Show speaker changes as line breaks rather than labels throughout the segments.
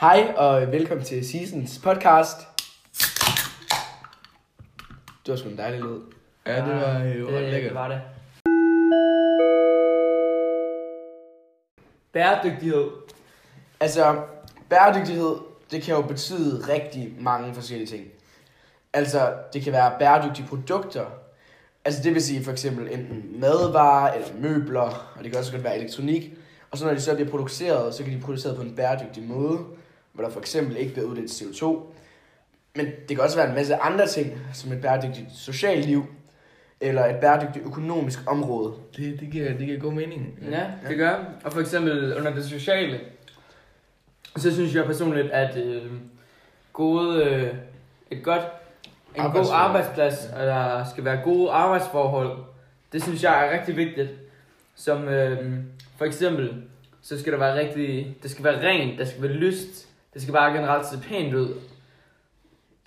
Hej og velkommen til Seasons podcast. Det var sgu en dejlig lyd.
Ja, det var jo ret
det, det
lækkert.
var det. Bæredygtighed.
Altså, bæredygtighed, det kan jo betyde rigtig mange forskellige ting. Altså, det kan være bæredygtige produkter. Altså, det vil sige for eksempel enten madvarer eller møbler, og det kan også godt være elektronik. Og så når de så bliver produceret, så kan de blive produceret på en bæredygtig måde, hvor der for eksempel ikke bliver udledt CO2. Men det kan også være en masse andre ting, som et bæredygtigt socialt liv, eller et bæredygtigt økonomisk område.
Det, det, giver, det giver god mening.
Ja, det gør. Og for eksempel under det sociale, så synes jeg personligt, at øh, gode, øh, et godt, en god
Arbejdsforhold.
arbejdsplads, og der skal være gode arbejdsforhold, det synes jeg er rigtig vigtigt. Som øh, for eksempel, så skal der være rigtig, det skal være rent, der skal være lyst, det skal bare generelt se pænt ud.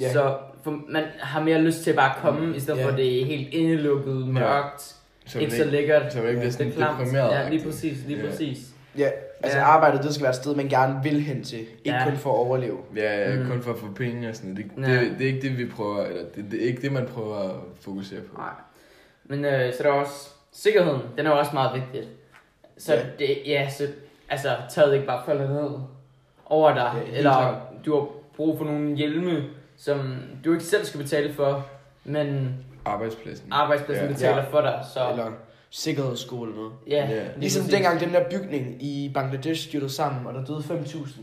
Ja.
Ja. Så for, man har mere lyst til bare at komme, i stedet
Ja.
for at det er helt indelukket, mørkt,
Så
ikke
man
så
ikke,
lækkert.
så man ikke bliver
Det
sådan
er klamt.
deprimeret.
Ja, lige præcis, lige
Ja.
præcis.
Ja, altså
Ja.
arbejdet, det skal være et sted, man gerne vil hen til. Ikke
Ja.
kun for at overleve.
Ja, ja,
Mm.
kun for at få penge og sådan noget. Det,
Ja.
det, det, er ikke det, vi prøver, eller det, det er ikke det, man prøver at fokusere på.
Nej. Men øh, så er der også sikkerheden, den er jo også meget vigtig. Så
Ja.
ja. det, ja, så, altså taget ikke bare falder ned over dig,
Ja,
ja,
helt
eller
klart.
du har brug for nogle hjelme, som du ikke selv skal betale for, men
Arbejdspladsen.
arbejdspladsen
Ja.
ja. betaler
Ja.
ja. for dig, så
Eller sikkerhedsskole eller noget.
ja.
Ja.
lige
Ligesom
præcis.
dengang den der bygning i Bangladesh styrtede sammen, og der døde 5.000.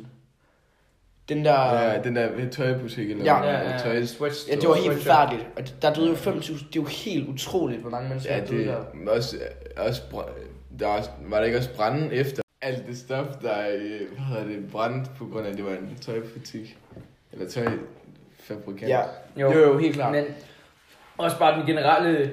Den der...
Ja, den der tøjbutik eller
Ja.
Ja, ja,
tøj.
ja. Sweatstore.
Ja, det var helt
Sweatshop.
forfærdeligt. Og der døde jo 5.000. Det er jo helt utroligt, hvor mange mennesker
Ja,
der døde
det
der.
er også, også br- der er også, var der ikke også branden efter alt det stof, der øh, hvad hedder det, brændt på grund af, at det var en tøjbutik. Eller tøjfabrikant.
Ja,
Jo.
det var jo helt klart.
Men også bare den generelle,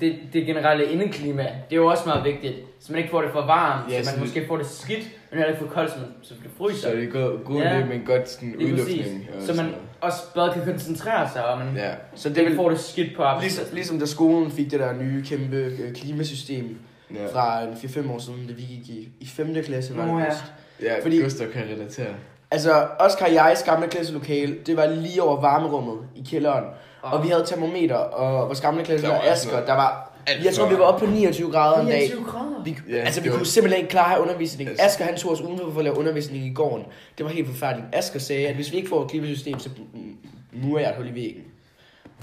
det, det generelle indeklima, det er jo også meget vigtigt. Så man ikke får det for varmt,
Ja,
ja, så
sådan
man måske får det skidt, men heller ikke for koldt, så man, så det fryser.
Så det er god, god
Ja.
ja. idé med en godt sådan,
Lige præcis.
udluftning. og
Så
sådan
man
noget.
også bedre kan koncentrere sig, og man ja.
Ja.
øh, Så det
ikke
vil...
får det skidt på
Ligesom,
arbejdspladsen.
ligesom da skolen fik det der nye kæmpe øh, klimasystem
Ja.
fra en 4-5 år siden, da vi gik i, i 5. klasse, var det
Nå ja.
vist.
ja,
fordi-
fordi... Gustav kan relatere.
Altså, Oscar og jegs gamle klasselokale, det var lige over varmerummet i kælderen. Og vi havde termometer, og vores gamle klasse
Der var
var Asger,
altså-
der var...
Alt
Jeg tror,
for-
vi var oppe på 29 grader en dag.
grader.
Vi,
Ja,
altså, vi
det var-
kunne simpelthen ikke klare at have undervisning.
Altså-
Asger, han tog os udenfor for at lave undervisning i gården. Det var helt forfærdeligt. Asger sagde, at hvis vi ikke får et klimasystem, så murer jeg et hul i væggen.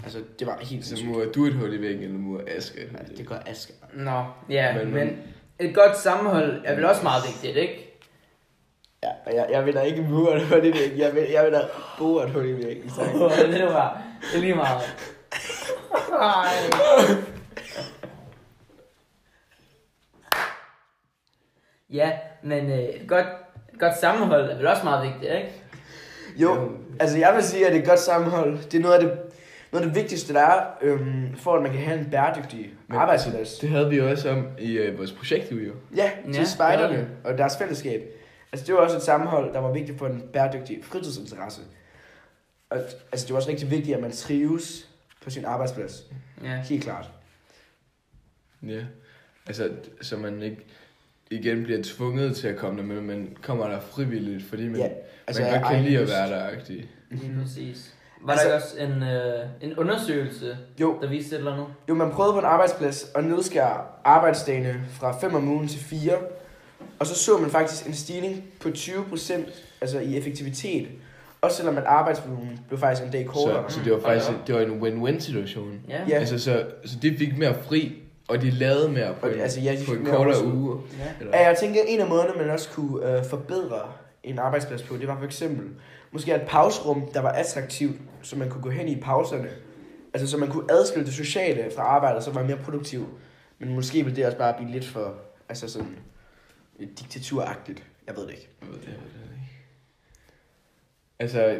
Altså, det var helt
Så
sindssygt.
murer du et hul i væggen, eller murer Aske. et hul i
Ja,
væggen?
Det gør Asger.
Nå, ja,
Men-
men, men et godt sammenhold er vel også meget vigtigt, ikke?
Ja, og jeg, jeg vil da ikke mure et hul i væggen. Jeg vil, jeg vil da bruge et hul i væggen. tak.
det er bare, det er lige meget. Ej. Ja, men øh, et godt, et godt sammenhold er vel også meget vigtigt, ikke?
Jo, altså jeg vil sige, at et godt sammenhold, det er noget af det, noget af det vigtigste, der er, øhm, for at man kan have en bæredygtig
Men
arbejdsplads.
Det havde vi jo også om i øh, vores projekt, jo.
Ja,
Ja,
til
det er
spejderne
det.
og deres fællesskab. Altså det var også et sammenhold, der var vigtigt for en bæredygtig fritidsinteresse. Og altså, det var også rigtig vigtigt, at man trives på sin arbejdsplads.
Ja.
Helt klart.
Ja. Altså, så man ikke igen bliver tvunget til at komme der, men man kommer der frivilligt, fordi man,
Ja,
ja,
altså
altså, man
af
godt kan
egen
lide at
lyst.
være der-agtig.
Lige præcis. Var
Altså-
Mhm. altså, der ikke også en, øh, en undersøgelse,
Jo,
der viste et eller andet?
jo, man prøvede på en arbejdsplads at nedskære arbejdsdagene fra 5 om ugen til 4. Og så så man faktisk en stigning på 20% altså i effektivitet. Også selvom at arbejdsvolumen blev faktisk en dag kortere.
Så, så det var
Mm.
faktisk
Hold da op.
det var en win-win-situation.
Ja.
Ja.
Ja. Altså, så, så de fik mere fri, og de lavede mere på,
Og
en,
det- altså, ja, de
på
fik
en
mere
kortere
overskud.
uge.
ja.
Eller,
Ja, jeg tænker, en af måderne, man også kunne øh, forbedre en arbejdsplads på, det var for eksempel, måske et pausrum, der var attraktivt, så man kunne gå hen i pauserne. Altså, så man kunne adskille det sociale fra arbejdet, så man var mere produktiv. Men måske ville det også bare blive lidt for, altså sådan, lidt diktaturagtigt. Jeg ved det ikke.
Jeg ved det, jeg ved det ikke. Altså,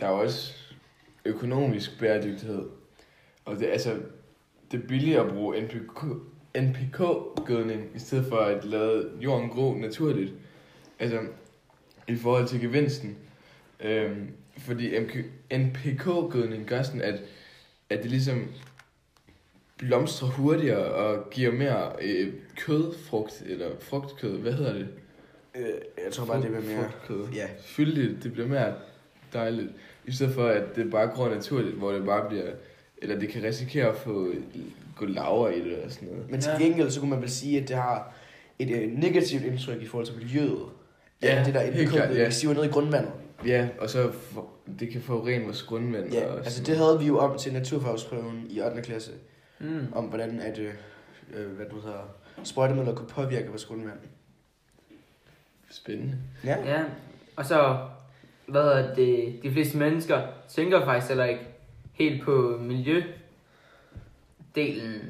der er jo også økonomisk bæredygtighed. Og det, altså, det er billigere at bruge NPK, NPK-gødning, i stedet for at lade jorden gro naturligt. Altså, i forhold til gevinsten. Øhm, fordi MK, NPK-gødning gør sådan, at, at det ligesom blomstrer hurtigere og giver mere øh, kødfrugt, eller frugtkød, hvad hedder det?
Øh, jeg tror bare, det bliver mere...
Frugtkød.
Ja.
Fyldigt, det bliver mere dejligt. I stedet for, at det bare gror naturligt, hvor det bare bliver... Eller det kan risikere at få gå laver i det eller sådan noget.
Men til
Ja.
gengæld, så kunne man vel sige, at det har et øh, negativt indtryk i forhold til miljøet. Ja,
Ja,
det der
helt
indkøbet,
klart,
ja.
ja.
vi siver ned i grundvandet.
Ja, og så for, det kan forurene vores grundvand.
Ja,
og
altså
sådan
det havde vi jo om til naturfagsprøven i 8. klasse,
Mm.
om hvordan at, øh, øh, hvad du hedder, sprøjtemidler kunne påvirke vores grundvand.
noget. Spændende.
Ja.
Ja, og så, hvad hedder det, de fleste mennesker tænker faktisk heller ikke helt på miljødelen,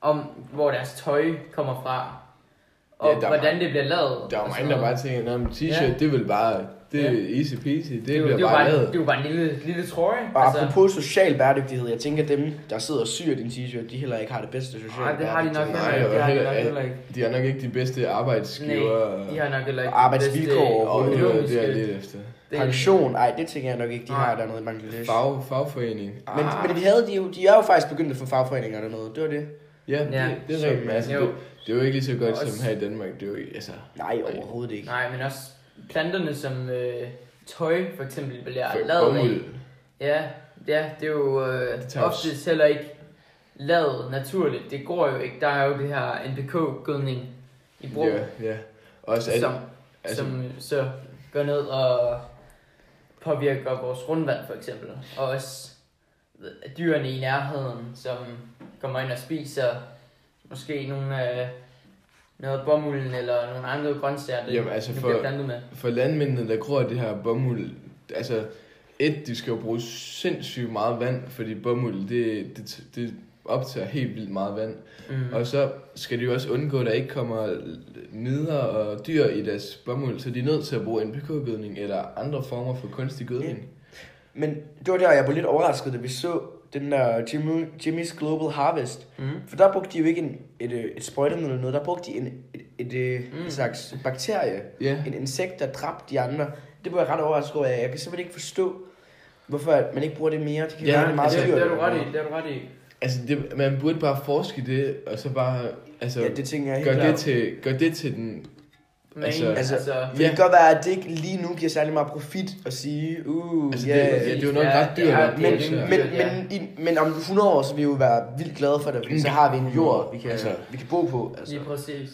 om hvor deres tøj kommer fra, og
Ja, der
ja,
er
hvordan
mange-
det bliver lavet. Altså,
Der er jo
og sådan
mange, der
noget.
bare tænker, at t-shirt,
Ja.
ja. det vil bare... Det er
Ja.
easy peasy, det,
er
det bliver
jo- det er jo
bare
bare,
lavet.
Det er jo bare en lille, lille trøje.
Og altså, apropos social bæredygtighed, jeg tænker, at dem, der sidder og syr din t-shirt, de heller ikke har det bedste sociale
nej, det har de nok
bæredygtighed.
Nej,
heller ikke.
og
Det har de
heller-
nok heller ikke.
De er nok ikke de bedste arbejdsgiver.
Nej, de har nok heller ikke.
Og arbejdsvilkår
det bedste
og det, er- det er
økonomiske
lidt efter.
del.
Pension, ej, det tænker jeg nok ikke, de
Nej. Ah.
har dernede i Bangladesh.
Fag, fagforening.
Men, men vi havde de, jo, de er jo faktisk begyndt at få fagforeninger dernede, det var det.
Ja, det,
Ja.
det er rigtigt. men Altså,
Jo.
det, det er jo ikke lige så godt
Også-
som her i Danmark. Det er jo ikke, altså...
Nej, overhovedet ikke.
Nej, men også planterne som øh, tøj for eksempel bliver
for
lavet af.
bomuld.
Ja, ja, det er jo øh,
Det tager jo
oftest heller ikke lavet naturligt. Det går jo ikke. Der er jo det her NPK-gødning i brug,
Ja, ja. Også at,
som,
altså-
som så går ned og påvirker vores grundvand for eksempel. Og også dyrene i nærheden, som kommer ind og spiser måske nogle af noget bomulden eller nogle andre grøntsager, det,
Jamen, altså
det
for-
bliver plantet med.
for landmændene, der gror det her bomuld, altså, et, de skal jo bruge sindssygt meget vand, fordi bomuld, det, det, det optager helt vildt meget vand.
Mm.
Og så skal de jo også undgå, at der ikke kommer midler og dyr i deres bomuld, så de er nødt til at bruge NPK-gødning eller andre former for kunstig gødning.
Men det var der, jeg var lidt overrasket, da vi så den der Jimmy, Jimmy's Global Harvest.
Mm.
For der brugte de jo ikke en, et, øh, et sprøjtemiddel eller noget, der brugte de en, et, et, et
Mm.
mm. slags bakterie,
Ja,
en insekt, der dræbte de andre. Det var jeg ret overrasket over. Jeg kan simpelthen ikke forstå, hvorfor at man ikke bruger det mere. Det kan
Ja,
være meget
det,
altså,
dyrt.
det er du ret i, det er du ret i.
altså det, man burde bare forske i det, og så bare, altså,
Ja, det tænker jeg helt
gør,
klart.
det til, gør det til den,
Men, altså,
Altså-
altså,
Altså-
altså,
Men det kan godt være, at det ikke lige nu giver særlig meget profit at sige, uh,
altså
ja,
det, ja, det er jo nok
Ja,
ret dyrt.
det er-
at
Men,
bruge til at-
men, men, i, men om 100 år, så vil vi jo være vildt glade for det, fordi så
Mm.
har vi en jord, vi kan,
Altså.
vi kan bo på. Altså.
lige præcis.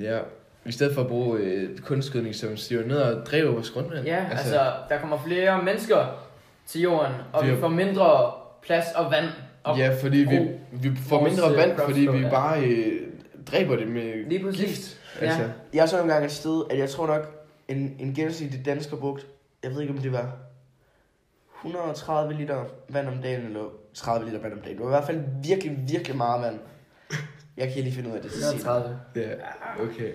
Ja, i stedet for at bruge øh, kunstgødning, som stiger ned og dræber vores grundvand.
Ja, altså, altså, der kommer flere mennesker til jorden, og
Det
vi
er-
får mindre plads og vand. Og
ja, fordi vi,
brug
vi får
vores, øh,
mindre vand, fordi vi
kropsstoffer.
bare øh, dræber det med
Lige præcis.
gift. Altså,
Ja.
Jeg så engang et sted, at jeg tror nok, en, en gennemsnitlig dansker brugt, jeg ved ikke om det var 130 liter vand om dagen, eller 30 liter vand om dagen. Det var i hvert fald virkelig, virkelig meget vand. Jeg kan lige finde ud af det til sidst.
30.
ja, okay.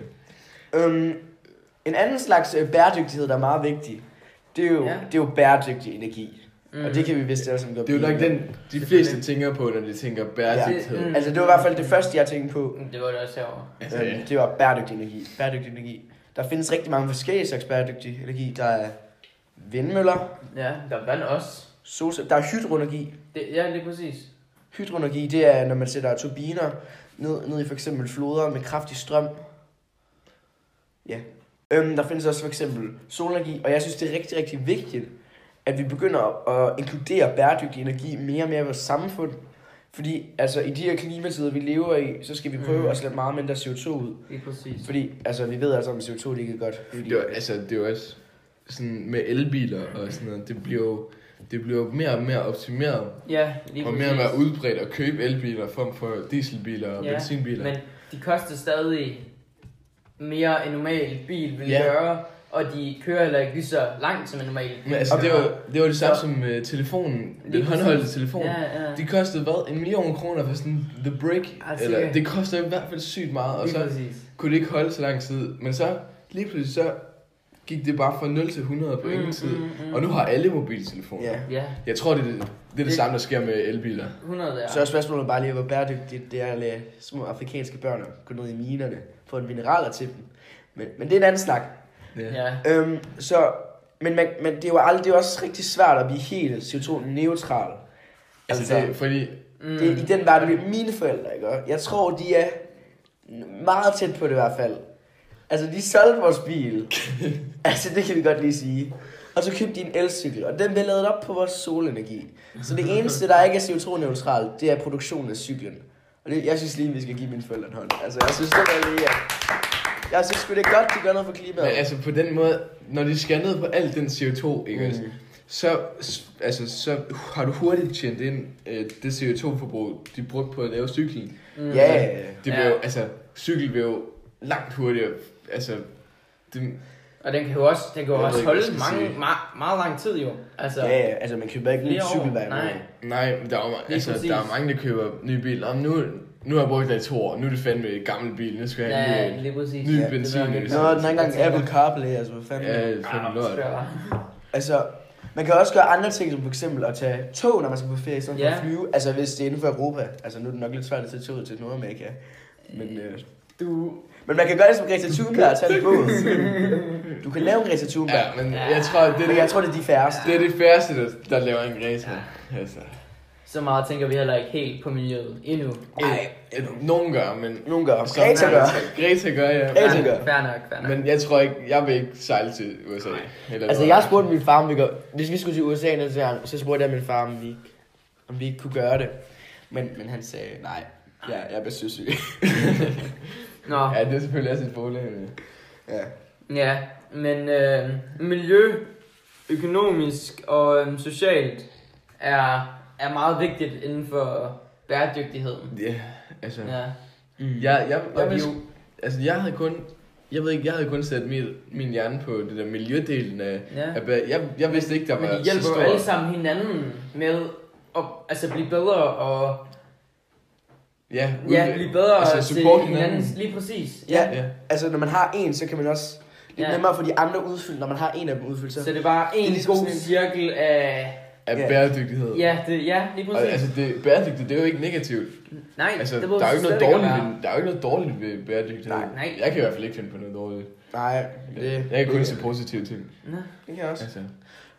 Øhm, en anden slags øh, bæredygtighed, der er meget vigtig, det er jo,
Ja.
ja. det er jo bæredygtig energi. Mm.
Mm.
Og det kan vi vist alle sammen godt
Det er jo
blive
nok
enige om.
den, de
Selvfølgelig.
fleste tænker på, når de tænker bæredygtighed.
Ja.
Ja.
Mm.
Altså, det var i hvert fald det første, jeg tænkte på.
Det var det også herovre.
Altså,
Altså,
ja.
øhm, det var bæredygtig energi. Bæredygtig energi. Der findes rigtig mange forskellige slags bæredygtig energi. Der er vindmøller,
Ja, der er vand også.
solceller, der er hydroenergi.
Det, ja, lige præcis.
Hydroenergi, det er, når man sætter turbiner ned, ned i for eksempel floder med kraftig strøm. Ja. Øhm, der findes også for eksempel solenergi, og jeg synes, det er rigtig, rigtig vigtigt, at vi begynder at inkludere bæredygtig energi mere og mere i vores samfund. Fordi altså, i de her klimatider, vi lever i, så skal vi prøve
Mm.
Mhm.
at slippe meget mindre CO2 ud.
Lige præcis.
Fordi, altså, vi ved altså om CO2 det ikke er godt. Fordi,
Det er, jo- altså, det er jo også sådan med elbiler og sådan noget, det bliver jo det bliver jo mere og mere optimeret,
Ja, lige
og
præcis.
mere og mere udbredt at købe elbiler frem for dieselbiler og
Ja,
benzinbiler.
Men de koster stadig mere end normal bil vil
Ja.
gøre, og de kører heller ikke lige så langt som en normal
Men
bil.
altså, det
gør.
var, det var det samme som uh, telefonen, den
Lige præcis.
håndholdte telefon.
Ja, ja.
De kostede hvad? En million kroner for sådan The Break?
Altså, ja.
eller, det koster i hvert fald sygt meget, og
Lige
så
præcis.
kunne det ikke holde så lang tid. Men så lige pludselig så gik det bare fra 0 til 100 på ingen tid. Og nu har alle mobiltelefoner.
ja.
Mm, Ja,
Jeg tror, det er det, det, er
Det-
det samme, der sker med elbiler.
100 der.
Så er spørgsmålet bare lige, hvor bæredygtigt det er at lade små afrikanske børn gå ned i minerne for en mineraler til dem. Men, men det er en anden snak.
Ja.
Øhm, så, men, man, men det, er jo aldrig, det er jo også rigtig svært at blive helt CO2-neutral.
Altså, det, fordi
Mm.
Det er i den verden, vi- mine forældre gør. Jeg tror, de er meget tæt på det i hvert fald. Altså, de solgte vores bil. altså, det kan vi godt lige sige. Og så købte de en elcykel, og den blev lavet op på vores solenergi. Så det eneste, der ikke er CO2-neutralt, det er produktionen af cyklen. Og det, jeg synes lige, vi skal give mine forældre en hånd. Altså, jeg synes det var lige, at... Jeg synes sgu, det er godt, de gør noget for klimaet.
Men altså på den måde, når de skal ned på alt den CO2, ikke også?
Mm.
Så, s- altså, så har du hurtigt tjent ind øh, det CO2-forbrug, de brugte på at lave cyklen.
Ja, ja, ja.
Det
Ja.
ja. jo, altså, cykel blev jo langt hurtigere, altså, det,
Og den kan jo også, den kan jo
Jeg
også
ved ikke, hvad jeg
holde
skal
mange,
sige.
meget, meget lang tid jo. Altså,
Ja, ja, altså man køber ikke en ny
flere år.
cykel hver
Nej.
måned.
nej, men der er, jo ma-
Lige
altså,
præcis.
der er mange, der køber nye biler. Om nu, nu har jeg brugt det i to år, nu er det fandme en gammel bil, nu skal jeg have
Ja,
en ny.
lige præcis.
Ny
Ja, det
benzin,
ved jeg
eller
ikke.
Nå, den har ikke engang Apple CarPlay, altså hvad fanden.
Ja, det er fandme lort.
Ja.
Altså, man kan også gøre andre ting, som for eksempel at tage tog, når man skal på ferie, i stedet for
Ja.
at flyve. Altså, hvis det er inden for Europa. Altså, nu er det nok lidt svært at tage toget til Nordamerika. Men, øh,
Du,
men man kan gøre det som Greta Thunberg og tage en båd. Du kan lave en Greta Thunberg.
Ja, men jeg tror, det er
Men
det,
jeg tror, det er de færreste.
det, er det færreste, der, der laver en race, ja. altså.
så meget tænker vi heller ikke helt på miljøet endnu.
Ej,
Nogen gør, men...
nogen gør.
Så-
Greta gør.
Greta gør, ja.
Greta gør.
Fair nok, fair nok.
Men jeg tror ikke, jeg vil ikke sejle til USA. Eller
Altså, jeg spurgte min far, om vi gør, hvis vi skulle til USA næste gang, så spurgte jeg min far, om vi, om vi ikke kunne gøre det. Men, men han sagde, nej, ja, jeg er besøgssyg.
Nå,
Ja, det er selvfølgelig også et problem. ja.
ja.
ja, men øh, miljø, økonomisk og øh, socialt er, er meget vigtigt inden for bæredygtigheden.
Ja, altså... Ja.
Ja.
Mm.
Jeg, jeg,
Og
jeg,
vi
vil,
jo,
altså, jeg havde kun... Jeg ved ikke, jeg havde kun sat min, min hjerne på det der miljødelen af...
ja.
af bag- Jeg, jeg vidste ikke, der
Men
var
de hjælper jo alle sammen hinanden med at altså, blive bedre og
Ja,
ja,
udvikling.
blive bedre
altså,
til
support
hinanden.
hinanden.
Lige præcis.
Ja.
Ja.
Altså, når man har en, så kan man også lidt
Ja.
ja. nemmere få de andre udfyldt, når man har en af dem udfyldt.
Så
Så,
det er bare
Det
en
er ligesom
god
sådan en-
cirkel af...
Af
Ja.
bæredygtighed.
Ja, det, ja lige
Og,
præcis.
altså, det, bæredygtigt, det er jo ikke negativt.
Nej,
Altså,
det
der
behøver
er, jo ikke noget
slet
dårligt
at være.
ved, der er jo ikke noget dårligt ved bæredygtighed.
Nej.
Nej.
Jeg kan i hvert fald ikke finde på noget dårligt.
nej, det,
Jeg kan kun
det,
se positive ting.
Nå.
det kan jeg også.
Altså,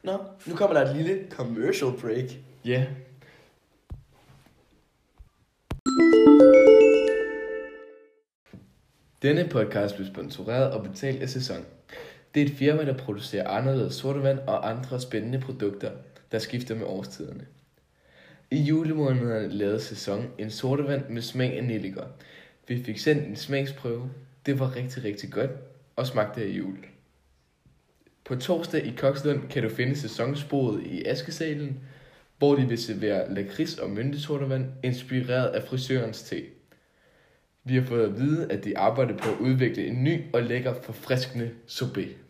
Nå, nu kommer der et lille commercial break.
ja. Yeah. Denne podcast blev sponsoreret og betalt af Sæson. Det er et firma, der producerer anderledes sortevand og andre spændende produkter, der skifter med årstiderne. I julemånederne lavede Sæson en sortevand med smag af nelliker. Vi fik sendt en smagsprøve. Det var rigtig, rigtig godt og smagte af jul. På torsdag i Kokslund kan du finde sæsonsporet i Askesalen, hvor de vil servere lakrids og myntesortervand, inspireret af frisørens te. Vi har fået at vide, at de arbejder på at udvikle en ny og lækker forfriskende sorbet.